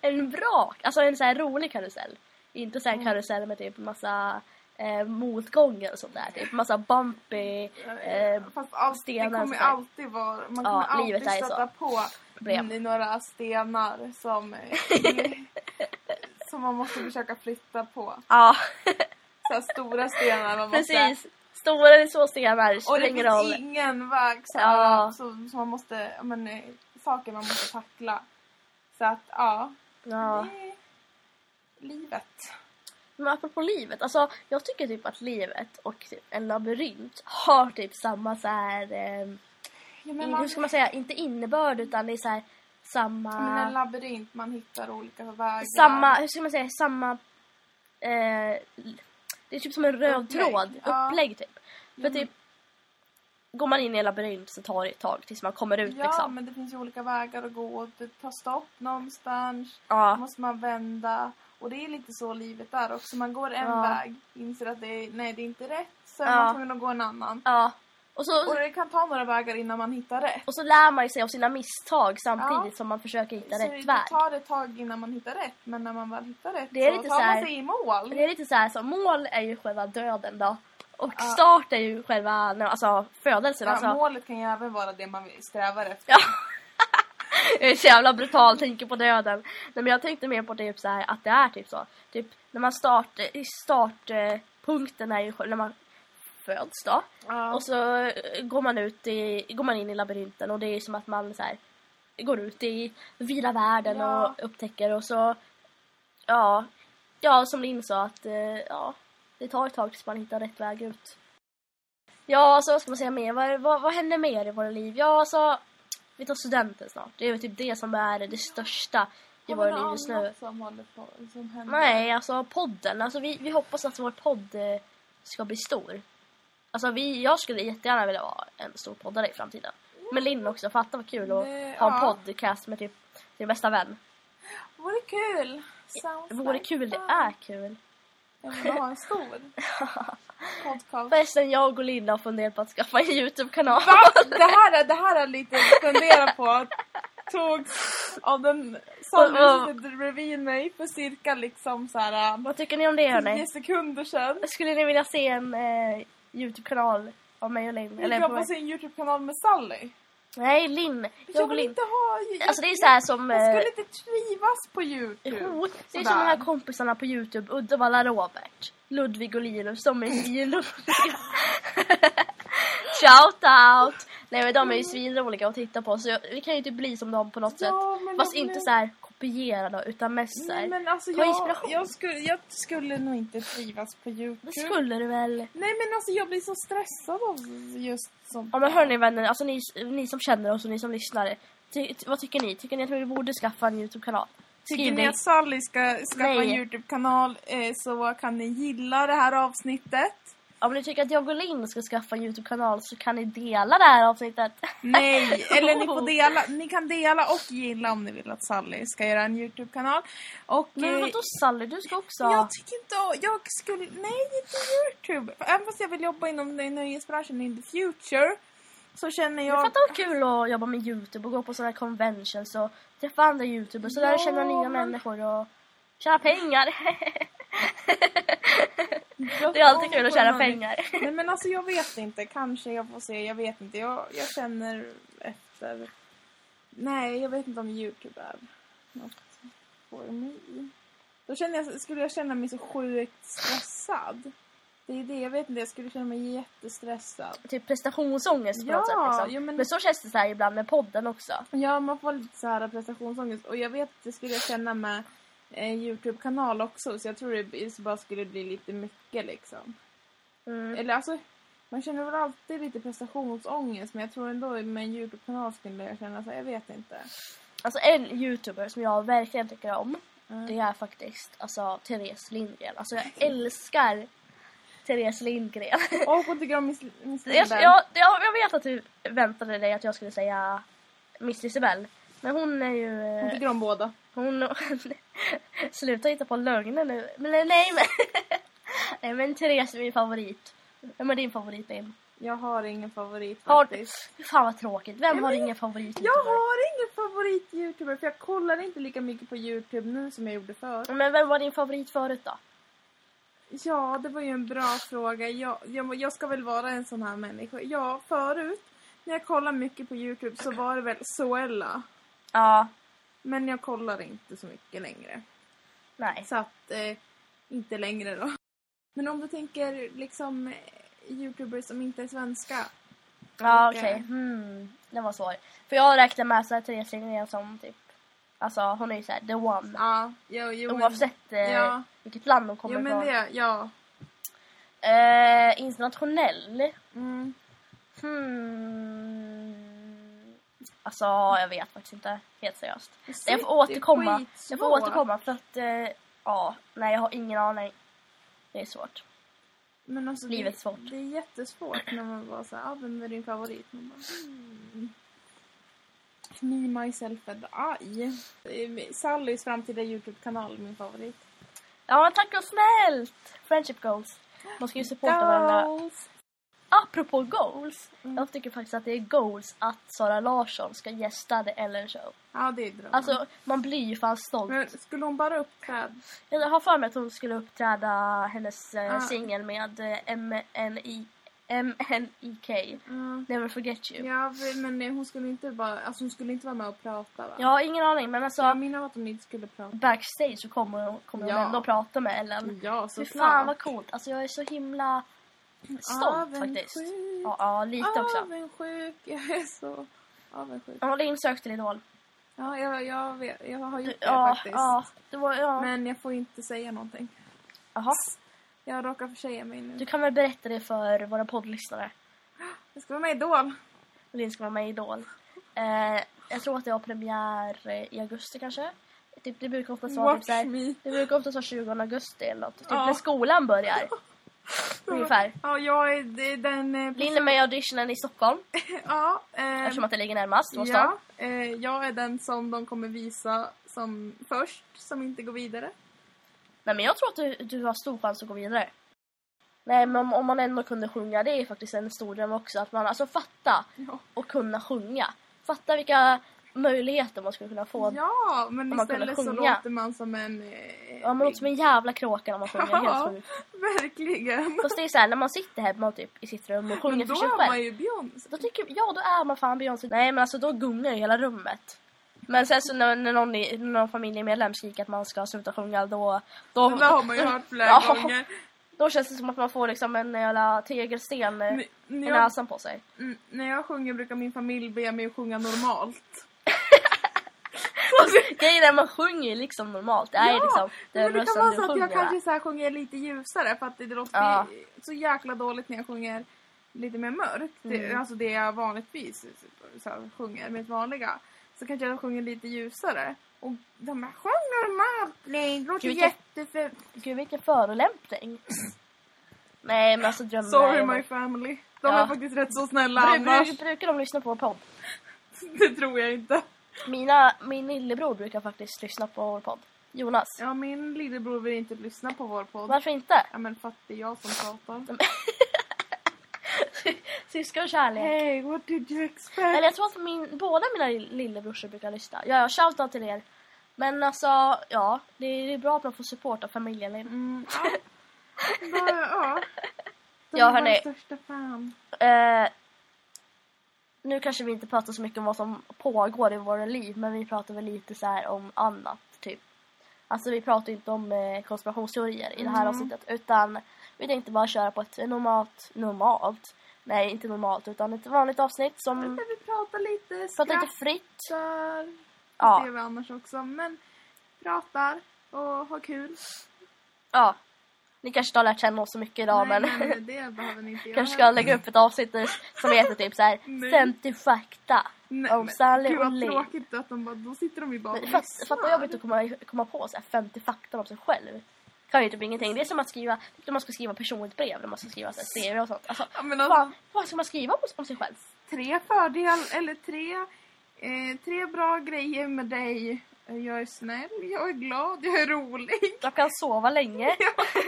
Speaker 1: En bra, alltså en så här rolig karusell. Inte så här karusell med typ massa eh, motgångar och sånt där. Typ massa bumpy eh,
Speaker 2: Fast allt, det
Speaker 1: stenar och
Speaker 2: kommer
Speaker 1: sånt där.
Speaker 2: alltid vara... Man
Speaker 1: Ja,
Speaker 2: kommer alltid
Speaker 1: livet är så.
Speaker 2: stöta på
Speaker 1: Problem.
Speaker 2: n- några stenar som, eh, som man måste försöka flytta på.
Speaker 1: Ja,
Speaker 2: Så här stora stenar man måste...
Speaker 1: precis. Stora eller små stenar
Speaker 2: Och det
Speaker 1: spelar ingen roll.
Speaker 2: finns ingen väg så här,
Speaker 1: Ja.
Speaker 2: så, så man måste, ja, men, eh, saker man måste tackla. Så att ja,
Speaker 1: Ja.
Speaker 2: det är livet.
Speaker 1: Men apropå livet, alltså jag tycker typ att livet och typ en labyrint har typ samma så här, eh,
Speaker 2: Ja,
Speaker 1: in,
Speaker 2: men,
Speaker 1: hur ska man säga, inte innebörd utan det är så här samma...
Speaker 2: men en labyrint, man hittar olika vägar.
Speaker 1: samma, hur ska man säga, samma... Eh, det är typ som en röd
Speaker 2: Upplägg,
Speaker 1: tråd,
Speaker 2: ja.
Speaker 1: upplägg typ. För
Speaker 2: Mm.
Speaker 1: typ, går man in i en labyrint så tar det ett tag tills man kommer ut
Speaker 2: Ja,
Speaker 1: liksom.
Speaker 2: men det finns ju olika vägar att gå. Det tar stopp någonstans. Då
Speaker 1: Ja,
Speaker 2: måste man vända. Och det är lite så livet är också. Man går en
Speaker 1: Ja.
Speaker 2: väg, inser att det är, nej, det är inte rätt. Så är
Speaker 1: Ja.
Speaker 2: man tvungen att gå en annan.
Speaker 1: ja. Och
Speaker 2: Och
Speaker 1: så,
Speaker 2: det kan ta några vägar innan man hittar rätt.
Speaker 1: och så lär man ju sig av sina misstag samtidigt
Speaker 2: Ja.
Speaker 1: som man försöker hitta
Speaker 2: så
Speaker 1: rätt
Speaker 2: det
Speaker 1: väg.
Speaker 2: tar ett tag innan man hittar rätt. Men när man väl hittar rätt
Speaker 1: Det är
Speaker 2: så
Speaker 1: lite
Speaker 2: tar
Speaker 1: så här-
Speaker 2: man sig i mål.
Speaker 1: Men det är lite så här som mål är ju själva döden då. Och
Speaker 2: Ja.
Speaker 1: start är ju själva nej, alltså, födelsen.
Speaker 2: Ja,
Speaker 1: alltså.
Speaker 2: Målet kan ju även vara det man vill- strävar efter.
Speaker 1: Ja. Jag är så jävla brutal, tänker på döden. Nej, men jag tänkte mer på typ så här, att det är typ så. Typ när man startar, i startpunkten är ju själv- när man föds då.
Speaker 2: Ja.
Speaker 1: Och så eh, går man, ut i, går man in i labyrinten och det är som att man så här, går ut i vida världen
Speaker 2: Ja.
Speaker 1: och upptäcker och så... Ja, ja som Linn sa att eh, ja, det tar ett tag tills man hittar rätt väg ut. Ja, så vad ska man säga mer? Vad, vad, vad händer mer i våra liv? Ja, alltså vi tar studenten snart. Det är väl typ det som är det största i
Speaker 2: Har
Speaker 1: våra
Speaker 2: man
Speaker 1: liv
Speaker 2: något
Speaker 1: just nu.
Speaker 2: annat som håller på, som händer?
Speaker 1: Nej, alltså podden. Alltså, vi, vi hoppas att vår podd eh, ska bli stor. Alltså, vi, jag skulle jättegärna vilja vara en stor poddare i framtiden. Men Linn också, fatta vad kul att
Speaker 2: Det-
Speaker 1: ha en
Speaker 2: Eh, ja.
Speaker 1: podcast med typ din bästa vän.
Speaker 2: Vore kul! Sounds
Speaker 1: Det vore
Speaker 2: like
Speaker 1: kul, det
Speaker 2: fun.
Speaker 1: är kul.
Speaker 2: Jag vill ha en stor podcast.
Speaker 1: Förresten, jag och Linda har funderat på att skaffa en Youtube-kanal.
Speaker 2: Va? Det här, är- det här är lite att fundera på. Togs av den
Speaker 1: Vad-
Speaker 2: som du bredvid mig för cirka liksom så här
Speaker 1: Vad tycker ni om det hörni?
Speaker 2: 10 sekunder sedan.
Speaker 1: Skulle ni vilja se en eh, Youtube-kanal av mig och Linn?
Speaker 2: Vi
Speaker 1: Eller
Speaker 2: kan
Speaker 1: på
Speaker 2: på sin Youtube-kanal med Sally.
Speaker 1: Nej, Linn. Jag
Speaker 2: Jag
Speaker 1: och
Speaker 2: vill
Speaker 1: Linn.
Speaker 2: inte ha... Jag,
Speaker 1: Alltså det är så här som...
Speaker 2: jag
Speaker 1: eh,
Speaker 2: skulle inte trivas på Youtube.
Speaker 1: Jo, det är
Speaker 2: Sådär.
Speaker 1: som de här kompisarna på Youtube, Uddevalla Robert, Ludvig och Linus, de är svinroliga. Shout out! Nej men de är ju svinroliga att titta på så jag, vi kan ju typ bli som dem på något sätt.
Speaker 2: Ja, men
Speaker 1: Fast
Speaker 2: jag
Speaker 1: inte
Speaker 2: vill-
Speaker 1: så här kopiera då, utan mest så
Speaker 2: Nej,
Speaker 1: här.
Speaker 2: men alltså
Speaker 1: Ta
Speaker 2: jag,
Speaker 1: inspiration.
Speaker 2: jag, skulle, jag skulle nog inte trivas på Youtube.
Speaker 1: Det skulle du väl?
Speaker 2: Nej men alltså jag blir så stressad av just sånt.
Speaker 1: Ja men hörni vänner, alltså ni, ni som känner oss och ni som lyssnar, ty, ty, vad tycker ni? Tycker ni att vi borde skaffa en Youtube-kanal?
Speaker 2: Tycker
Speaker 1: Skriv
Speaker 2: ni
Speaker 1: det.
Speaker 2: att Sally ska skaffa
Speaker 1: Nej.
Speaker 2: en Youtube-kanal eh, så kan ni gilla det här avsnittet.
Speaker 1: Om ni tycker att jag och Linn ska skaffa en Youtube-kanal så kan ni dela det här avsnittet.
Speaker 2: Nej, eller ni, får dela, ni kan dela och gilla om ni vill att Sally ska göra en Youtube-kanal. Och,
Speaker 1: Men
Speaker 2: eh,
Speaker 1: vadå Sally, du ska också...
Speaker 2: Jag tycker inte jag skulle... Nej, inte Youtube. Även fast jag vill jobba inom den nöjesbranschen in the future så känner
Speaker 1: Jag
Speaker 2: jag...
Speaker 1: fattar vad kul att jobba med Youtube och gå på sådana här conventions och träffa andra Youtubers och lära
Speaker 2: Ja,
Speaker 1: känna nya
Speaker 2: men-
Speaker 1: människor och tjäna pengar. det är alltid kul att tjäna pengar.
Speaker 2: Nej men alltså jag vet inte. Kanske jag får se. Jag vet inte. Jag, jag känner efter. Nej, jag vet inte om Youtube är något för mig. Då känner jag, skulle jag känna mig så sjukt stressad. Det är det jag vet inte. Jag skulle känna mig jättestressad.
Speaker 1: Typ prestationsångest på
Speaker 2: Ja,
Speaker 1: något sätt. Liksom.
Speaker 2: jo, men-
Speaker 1: men så känns det så här ibland med podden också.
Speaker 2: Ja, man får lite så här prestationsångest. Och jag vet att det skulle jag känna med eh, Youtube-kanal också. Så jag tror det b- bara skulle bli lite mycket liksom.
Speaker 1: Mm.
Speaker 2: Eller alltså, man känner väl alltid lite prestationsångest. Men jag tror ändå med en Youtube-kanal skulle jag känna så här, jag vet inte.
Speaker 1: Alltså en Youtuber som jag verkligen tycker om
Speaker 2: Mm.
Speaker 1: det är faktiskt alltså, Therese Lindgren. Alltså jag älskar Therese Lindgren.
Speaker 2: Och hon tycker om Miss, miss
Speaker 1: Jag,
Speaker 2: Lindberg.
Speaker 1: jag, jag, jag vet att du väntade dig att jag skulle säga Miss Isabel. Men hon är ju...
Speaker 2: Hon
Speaker 1: eh,
Speaker 2: tycker om båda.
Speaker 1: Hon... Sluta hitta på lögner nu. Men nej, nej men... nej men Therese är min favorit. Vem är din favorit Linn?
Speaker 2: Jag har ingen favorit
Speaker 1: Har...
Speaker 2: faktiskt.
Speaker 1: Fy Fan vad tråkigt. Vem
Speaker 2: Ja,
Speaker 1: har
Speaker 2: men-
Speaker 1: ingen favorit?
Speaker 2: Jag har ingen favorit-youtuber för jag kollar inte lika mycket på Youtube nu som jag gjorde förr.
Speaker 1: Men vem var din favorit förut då?
Speaker 2: Ja, det var ju en bra fråga. Jag, jag, jag ska väl vara en sån här människa. Ja, förut när jag kollade mycket på Youtube så var det väl Zoella.
Speaker 1: Ja,
Speaker 2: Men jag kollar inte så mycket längre.
Speaker 1: nej.
Speaker 2: Så att, eh, inte längre då. Men om du tänker liksom eh, Youtubers som inte är svenska.
Speaker 1: Ja,
Speaker 2: Okej.
Speaker 1: okej. Hmm. Det var svår. För jag räknar med så här Therese Linnea som typ... Alltså hon är ju såhär the one.
Speaker 2: Ja, jo, jo, men,
Speaker 1: Oavsett eh,
Speaker 2: Ja.
Speaker 1: vilket land hon kommer
Speaker 2: jo, men
Speaker 1: ifrån.
Speaker 2: det, ja.
Speaker 1: Eh, internationell?
Speaker 2: Mm.
Speaker 1: Hmm. Alltså jag vet faktiskt inte. Helt seriöst. Jag får återkomma. Jag får
Speaker 2: Skitsvårt.
Speaker 1: återkomma för att... Eh, ja, nej jag har ingen aning. Det är svårt.
Speaker 2: Men alltså,
Speaker 1: Livets
Speaker 2: det,
Speaker 1: svårt.
Speaker 2: det är jättesvårt när man bara såhär, ah, vem är din favorit? Man bara, hmm. Me, myself and I. Eh, Sallys framtida Youtube-kanal är min favorit.
Speaker 1: Ja, tack och snällt! Friendship goals. Man ska ju supporta varandra.
Speaker 2: Girls.
Speaker 1: Apropå goals.
Speaker 2: Mm.
Speaker 1: Jag tycker faktiskt att det är goals att Sara Larsson ska gästa The Ellen Show.
Speaker 2: Ja, det är drömmen.
Speaker 1: Alltså, man blir ju fan stolt.
Speaker 2: Mm. Men skulle hon bara uppträda?
Speaker 1: Jag har för mig att hon skulle uppträda hennes eh,
Speaker 2: Ah.
Speaker 1: singel med eh, MNI MNIK.
Speaker 2: Mm.
Speaker 1: Never forget you.
Speaker 2: Ja, för- men eh, hon skulle inte bara, alltså hon skulle inte vara med och prata va?
Speaker 1: Jag har ingen aning men alltså
Speaker 2: Jag minns av att hon inte skulle prata.
Speaker 1: backstage så kommer hon, kommer hon
Speaker 2: Ja.
Speaker 1: ändå prata med Ellen.
Speaker 2: Ja,
Speaker 1: Fy
Speaker 2: såklart.
Speaker 1: fan vad coolt. Alltså jag är så himla stolt
Speaker 2: Avundsjuk.
Speaker 1: faktiskt. Ja, ja lite också.
Speaker 2: Avundsjuk, jag är så avundsjuk.
Speaker 1: Hon hade insökt till Idol.
Speaker 2: Ja, jag, jag, vet, jag har gjort det
Speaker 1: Ja,
Speaker 2: faktiskt.
Speaker 1: ja, det var, ja.
Speaker 2: Men jag får inte säga någonting.
Speaker 1: Jaha.
Speaker 2: Jag råkar försäga mig nu.
Speaker 1: Du kan väl berätta det för våra poddlyssnare.
Speaker 2: Jag ska vara med i Idol.
Speaker 1: Linn ska vara med i Idol. Eh, jag tror att det har premiär eh, i augusti kanske. Typ, det brukar oftast vara typ
Speaker 2: Watch
Speaker 1: såhär,
Speaker 2: me.
Speaker 1: det brukar oftast vara 20 augusti eller något. Typ
Speaker 2: Ja.
Speaker 1: när skolan börjar. Ungefär.
Speaker 2: Ja, jag är det är den... eh,
Speaker 1: Linn är med i auditionen i Stockholm
Speaker 2: Ja, eh,
Speaker 1: eftersom att det ligger närmast vår stad.
Speaker 2: ja eh, jag är den som de kommer visa som först, som inte går vidare.
Speaker 1: Nej men jag tror att du, du har stor chans att gå vidare. Nej men om, om man ändå kunde sjunga, det är faktiskt en stor dröm också. Att man alltså fatta
Speaker 2: Ja,
Speaker 1: och kunna sjunga. Fatta vilka möjligheter man skulle kunna få.
Speaker 2: ja men
Speaker 1: Om man kunde
Speaker 2: istället så
Speaker 1: sjunga.
Speaker 2: låter man som en... Eh,
Speaker 1: Ja, man låter som en jävla kråka när man sjunger, helt
Speaker 2: Ja.
Speaker 1: sjukt.
Speaker 2: Verkligen.
Speaker 1: Fast det är såhär, när man sitter hemma och typ i sitt rum och sjunger
Speaker 2: Men då
Speaker 1: för sig
Speaker 2: är man
Speaker 1: själv.
Speaker 2: ju Beyoncé.
Speaker 1: Då tycker ja då är man fan Beyoncé. Nej men alltså då gungar ju hela rummet. Men sen så när, när någon, i, när någon familjemedlem skriker att man ska sluta sjunga då... Då,
Speaker 2: Det där har man ju hört flera
Speaker 1: Ja.
Speaker 2: gånger.
Speaker 1: då känns det som att man får liksom en jävla tegelsten eh,
Speaker 2: N-
Speaker 1: i
Speaker 2: när, jag,
Speaker 1: näsan på sig.
Speaker 2: n- mm, när jag sjunger brukar min familj be mig att sjunga normalt.
Speaker 1: Grejen är man sjunger ju liksom normalt. Det är ju liksom den
Speaker 2: men det kan
Speaker 1: rösten
Speaker 2: vara
Speaker 1: du
Speaker 2: så att
Speaker 1: sjunger.
Speaker 2: jag kanske så här sjunger lite ljusare för att det låter
Speaker 1: Ja.
Speaker 2: så jäkla dåligt när jag sjunger lite mer mörkt. Det,
Speaker 1: Mm.
Speaker 2: alltså det jag vanligtvis så här, sjunger, mitt vanliga. Så kanske jag sjunger lite ljusare. Och de bara sjung normalt Linn, det låter
Speaker 1: Gud, vilken-
Speaker 2: jättefint.
Speaker 1: Gud vilken förolämpning. Nej men alltså drömmen
Speaker 2: Sorry
Speaker 1: är-
Speaker 2: my family.
Speaker 1: Ja.
Speaker 2: De är faktiskt rätt så snälla
Speaker 1: Bru-
Speaker 2: annars.
Speaker 1: bru- Brukar de lyssna på vår podd?
Speaker 2: Det tror jag inte.
Speaker 1: Mina, min lillebror brukar faktiskt lyssna på vår podd. Jonas.
Speaker 2: Ja, min lillebror vill inte lyssna på vår podd.
Speaker 1: Varför inte?
Speaker 2: Ja, men för att det är jag som pratar.
Speaker 1: Syskon och kärlek.
Speaker 2: Hey, what did you
Speaker 1: Eller
Speaker 2: expect?
Speaker 1: jag tror att min, båda mina li- lillebrorsor brukar lyssna. Ja, ja, shoutout till er. Men alltså, ja. Det är, det är bra att man får support av familjen.
Speaker 2: Mm, ja. Bara, ja. De
Speaker 1: Ja,
Speaker 2: är
Speaker 1: hörni.
Speaker 2: vår största fan.
Speaker 1: Eh, nu kanske vi inte pratar så mycket om vad som pågår i våra liv. Men vi pratar väl lite så här om annat, typ. Alltså vi pratar ju inte om eh, konspirationsteorier i det här
Speaker 2: Mm.
Speaker 1: avsnittet. Utan vi tänkte bara köra på ett normalt, normalt. Nej, inte normalt. Utan ett vanligt avsnitt som...
Speaker 2: Men vi pratar lite,
Speaker 1: Pratar lite fritt.
Speaker 2: skrattar. Det
Speaker 1: Ja.
Speaker 2: gör vi annars också. Men pratar och har kul.
Speaker 1: ja. Ni kanske inte har lärt känna oss så mycket idag
Speaker 2: Nej,
Speaker 1: men
Speaker 2: men det behöver ni inte göra.
Speaker 1: kanske ska lägga upp ett avsnitt där- som heter typ såhär
Speaker 2: Nej.
Speaker 1: 50 fakta.
Speaker 2: Nej,
Speaker 1: om
Speaker 2: men
Speaker 1: Sally
Speaker 2: Gud
Speaker 1: och
Speaker 2: vad
Speaker 1: Lee.
Speaker 2: tråkigt att de bara, då sitter de ju bara
Speaker 1: Men
Speaker 2: och
Speaker 1: fatt-
Speaker 2: lyssnar.
Speaker 1: Fatta vad jobbigt att komma, komma på så här 50 fakta om sig själv. Kan ju typ ingenting. Det är som att skriva, när man ska skriva personligt brev, när man ska skriva så här CV och sånt. Alltså,
Speaker 2: Ja, men alltså,
Speaker 1: vad, vad ska man skriva om, om sig själv?
Speaker 2: tre fördelar, eller tre, eh, tre bra grejer med dig. Jag är snäll, jag är glad, jag är rolig.
Speaker 1: Jag kan sova länge.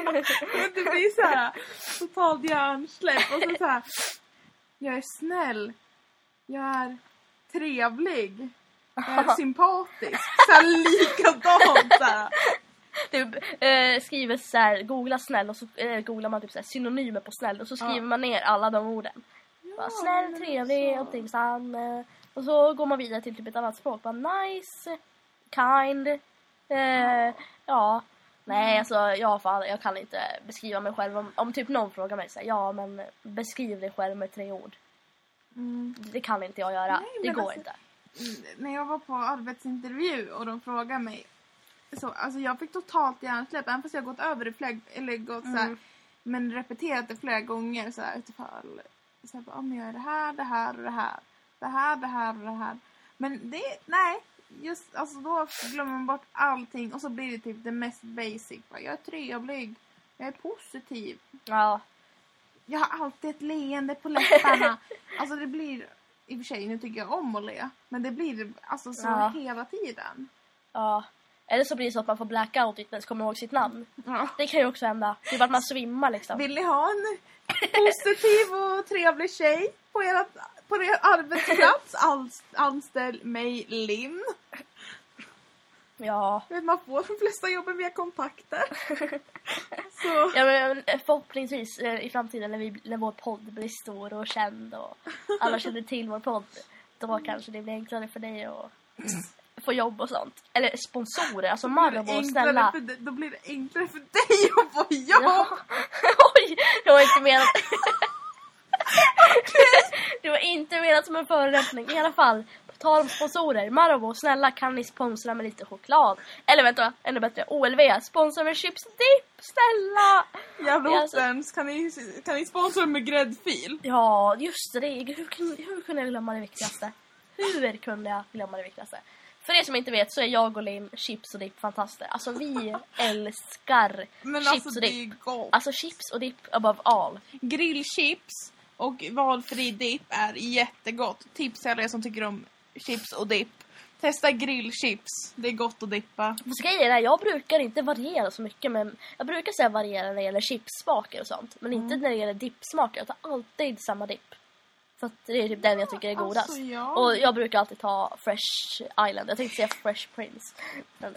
Speaker 2: Men det blir så här totalt hjärnsläpp och så, så här. Jag är snäll. Jag är trevlig. Jag är sympatisk. Så här likadant så här.
Speaker 1: Du, eh, skriver så här, googla snäll och så eh, googlar man typ så här, synonymer på snäll och så skriver
Speaker 2: Ja.
Speaker 1: man ner alla de orden. Bara,
Speaker 2: men
Speaker 1: snäll,
Speaker 2: det är
Speaker 1: trevlig,
Speaker 2: så.
Speaker 1: omtänksam. eh, Och så går man vidare till typ ett annat språk. Bara, nice, kind. Eh, ja.
Speaker 2: Mm.
Speaker 1: Nej, alltså jag, fan, jag kan inte beskriva mig själv. Om, om typ någon frågar mig så här, ja men beskriv dig själv med tre ord.
Speaker 2: Mm.
Speaker 1: Det kan inte jag göra.
Speaker 2: Nej,
Speaker 1: det
Speaker 2: men
Speaker 1: går
Speaker 2: alltså-
Speaker 1: inte.
Speaker 2: när jag var på arbetsintervju och de frågade mig. Så, alltså jag fick totalt hjärnsläpp även fast jag gått över i flera, eller gått så här,
Speaker 1: Mm.
Speaker 2: men repeterat det flera gånger så här utifall. Så här, bara, "Ja, men jag gör det här, det här och det här. Det här, det här och det här. Men det, nej. Just, alltså då glömmer man bort allting och så blir det typ det mest basic. Bara, jag är trevlig. Jag är positiv.
Speaker 1: Ja.
Speaker 2: Jag har alltid ett leende på läpparna. alltså det blir, i och för sig nu tycker jag om att le, men det blir alltså så
Speaker 1: Ja.
Speaker 2: hela tiden.
Speaker 1: ja. Eller så blir det så att man får blackout och inte ens kommer ihåg sitt namn.
Speaker 2: Ja.
Speaker 1: Det kan ju också hända. Typ att man svimmar liksom.
Speaker 2: Vill ni ha en positiv och trevlig tjej på er, på er arbetsplats? Alls- Anställ mig Linn.
Speaker 1: Ja.
Speaker 2: Vet man får de flesta jobben via kontakter. Så,
Speaker 1: Ja, men förhoppningsvis eh, i framtiden när, vi, när vår podd blir stor och känd och alla känner till vår podd.
Speaker 2: Mm.
Speaker 1: Då kanske det blir enklare för dig att få jobb och sånt. Eller sponsorer, alltså Marabou, snälla.
Speaker 2: enklare för, dig- då blir det enklare för dig att få jobb.
Speaker 1: Ja. Oj, det var inte menat. det var inte menat som en förolämpning. I alla fall, på tal om sponsorer. Marabou, snälla kan ni sponsra med lite choklad? Eller vänta, ännu bättre. OLV, sponsra med chips dipp, snälla!
Speaker 2: Jävla
Speaker 1: Ja, alltså-
Speaker 2: Otterns, kan ni, kan ni sponsra med gräddfil?
Speaker 1: Ja, just det. Hur, kun- hur kunde jag glömma det viktigaste? Hur kunde jag glömma det viktigaste? För er som inte vet så är jag och Linn chips och dipp fantaster. Alltså vi älskar
Speaker 2: Men
Speaker 1: chips
Speaker 2: alltså
Speaker 1: och
Speaker 2: det
Speaker 1: dipp.
Speaker 2: är ju gott.
Speaker 1: Alltså chips och dipp above all.
Speaker 2: Grillchips och valfri dipp är jättegott. Tips till alla er som tycker om chips och dipp. Testa grillchips. Det är gott att dippa.
Speaker 1: Fast grejen är, jag brukar inte variera så mycket men jag brukar säga variera när det gäller chipssmaker och sånt. Men
Speaker 2: Mm.
Speaker 1: inte när det gäller dippsmaker. Jag tar alltid samma dipp. För att det är typ den jag tycker är
Speaker 2: alltså,
Speaker 1: godast.
Speaker 2: ja.
Speaker 1: Och jag brukar alltid ta Fresh Island. Jag tänkte säga Fresh Prince. Men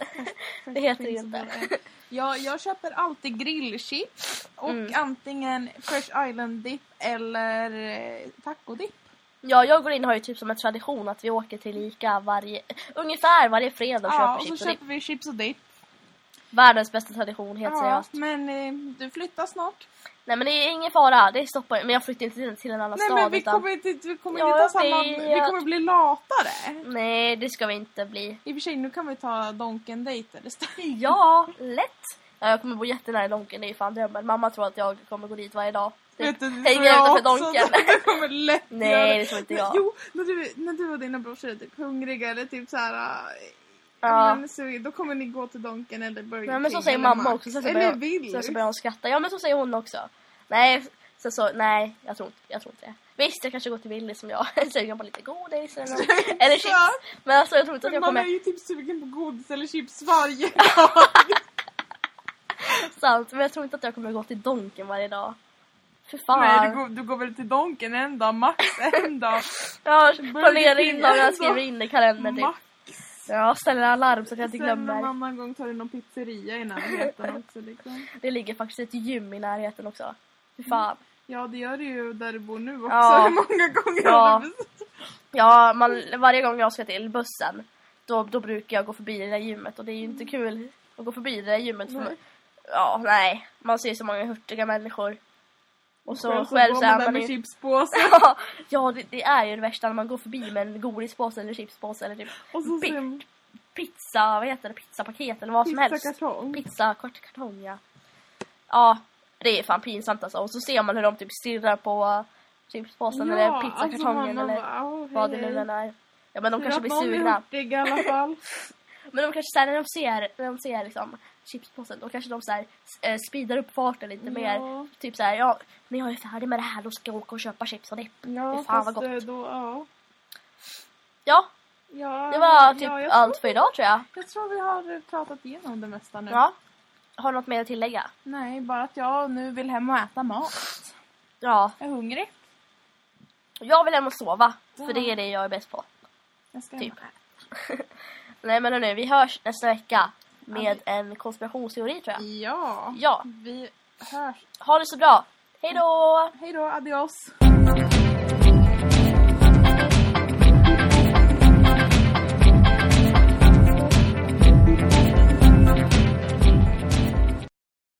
Speaker 1: det heter det ju inte.
Speaker 2: Jag, jag köper alltid grillchips och
Speaker 1: Mm.
Speaker 2: antingen Fresh Island-dipp eller eh, tacodipp.
Speaker 1: Ja, jag och Linn har ju typ som en tradition att vi åker till Ica varje, ungefär varje fredag och
Speaker 2: Ja, och
Speaker 1: köper
Speaker 2: så
Speaker 1: chips. Och
Speaker 2: köper vi chips och dipp.
Speaker 1: det är Världens bästa tradition, helt
Speaker 2: Ja,
Speaker 1: seriöst.
Speaker 2: men eh, du flyttar snart.
Speaker 1: Nej men det är ingen fara, det stoppar Men jag flyttar inte till, till en annan
Speaker 2: Nej,
Speaker 1: stad.
Speaker 2: men vi
Speaker 1: utan...
Speaker 2: kommer, inte, vi kommer
Speaker 1: Ja,
Speaker 2: inte ha
Speaker 1: jag
Speaker 2: samma... Vi
Speaker 1: vet.
Speaker 2: kommer bli latare.
Speaker 1: Nej, det ska vi inte bli.
Speaker 2: I och för sig, nu kan vi ta Donken-dejter istället.
Speaker 1: Ja, lätt! Ja, jag kommer bo jättenära Donken, det är ju fan drömmen. Mamma tror att jag kommer gå dit varje dag. Typ,
Speaker 2: Vet du, det
Speaker 1: Hänga
Speaker 2: tror jag
Speaker 1: utanför
Speaker 2: också.
Speaker 1: Donken.
Speaker 2: Det kommer lätt
Speaker 1: Nej,
Speaker 2: göra.
Speaker 1: det tror inte jag.
Speaker 2: Men, jo, när du, när du och dina brorsor är typ hungriga eller typ så här, äh,
Speaker 1: Ja.
Speaker 2: men, så, då kommer ni gå till Donken eller Burger
Speaker 1: Nej, men så
Speaker 2: King
Speaker 1: säger
Speaker 2: eller
Speaker 1: mamma
Speaker 2: Max.
Speaker 1: också. Sen så,
Speaker 2: Eller
Speaker 1: börjar,
Speaker 2: Willys.
Speaker 1: sen så börjar hon skratta. Ja, men så säger hon också. Nej, sen så, nej jag, tror inte, jag tror inte det. Visst, jag kanske går till Willys som jag är sugen på lite godis eller, något, eller
Speaker 2: Ja.
Speaker 1: chips. Men alltså jag tror inte att
Speaker 2: Men
Speaker 1: jag
Speaker 2: man är
Speaker 1: kommer...
Speaker 2: ju typ sugen på godis eller chips varje dag.
Speaker 1: Sant, men jag tror inte att jag kommer gå till Donken varje dag. För fan.
Speaker 2: Nej, du, går, du går väl till Donken en dag, Max en dag.
Speaker 1: Jag planerar
Speaker 2: Burger
Speaker 1: in
Speaker 2: King
Speaker 1: dagar, jag
Speaker 2: ändå.
Speaker 1: skriver in i kalendern typ.
Speaker 2: Max.
Speaker 1: Jag ställer alarm så att jag inte
Speaker 2: Sen någon
Speaker 1: glömmer.
Speaker 2: annan gång tar du någon pizzeria i närheten också. Liksom.
Speaker 1: Det ligger faktiskt ett gym i närheten också. Fy fan.
Speaker 2: Ja, det gör du ju där du bor nu också.
Speaker 1: Ja.
Speaker 2: Hur många gånger
Speaker 1: Ja.
Speaker 2: har du besökt?
Speaker 1: Ja, man, varje gång jag ska till bussen då, då brukar jag gå förbi det där gymmet och det är ju inte kul att gå förbi det där gymmet. För
Speaker 2: Mm. Nej.
Speaker 1: man, ja, nej. Man ser så många hurtiga människor. Och så själv,
Speaker 2: går
Speaker 1: så är
Speaker 2: man där
Speaker 1: man
Speaker 2: med
Speaker 1: ju...
Speaker 2: chipspåsen.
Speaker 1: ja, det, det är ju det värsta när man går förbi med en godispåse eller chipspåse eller typ
Speaker 2: Och så
Speaker 1: Big
Speaker 2: ser man
Speaker 1: pizza, vad heter det, pizzapaket eller vad som helst.
Speaker 2: pizzakartong.
Speaker 1: Pizza, kort kartong, ja. Ja, det är fan pinsamt alltså. Och så ser man hur de typ stirrar på chipspåsen eller pizzakartongen
Speaker 2: alltså man
Speaker 1: eller
Speaker 2: bara, "Åh,
Speaker 1: vad det
Speaker 2: hej,
Speaker 1: nu
Speaker 2: hej."
Speaker 1: än är. Ja men de
Speaker 2: Tur
Speaker 1: kanske
Speaker 2: att
Speaker 1: blir
Speaker 2: någon är
Speaker 1: sura.
Speaker 2: hurtig i alla fall.
Speaker 1: Men de kanske såhär när de ser, när de ser liksom chipspåsen då kanske de såhär eh, speedar upp farten lite
Speaker 2: Ja.
Speaker 1: mer. Typ såhär ja, när jag är färdig med det här då ska jag åka och köpa chips och dipp.
Speaker 2: Ja,
Speaker 1: Fy fan,
Speaker 2: fast
Speaker 1: vad gott.
Speaker 2: eh, då, ja.
Speaker 1: Ja,
Speaker 2: ja.
Speaker 1: det var typ
Speaker 2: ja, jag
Speaker 1: allt
Speaker 2: Tror,
Speaker 1: för idag tror jag.
Speaker 2: jag tror vi har eh, pratat igenom det mesta nu.
Speaker 1: Ja. Har du något mer att tillägga?
Speaker 2: Nej, bara att jag nu vill hem och äta mat.
Speaker 1: Ja.
Speaker 2: Jag är hungrig.
Speaker 1: Jag vill hem och sova. För
Speaker 2: Ja.
Speaker 1: det är det jag är bäst på.
Speaker 2: Jag ska
Speaker 1: Typ.
Speaker 2: hem och äta.
Speaker 1: Nej men nu, vi hörs nästa vecka. med en konspirationsteori tror jag.
Speaker 2: Ja.
Speaker 1: Ja.
Speaker 2: Vi hörs.
Speaker 1: Ha det så bra! Hej då!
Speaker 2: Hej då, adios.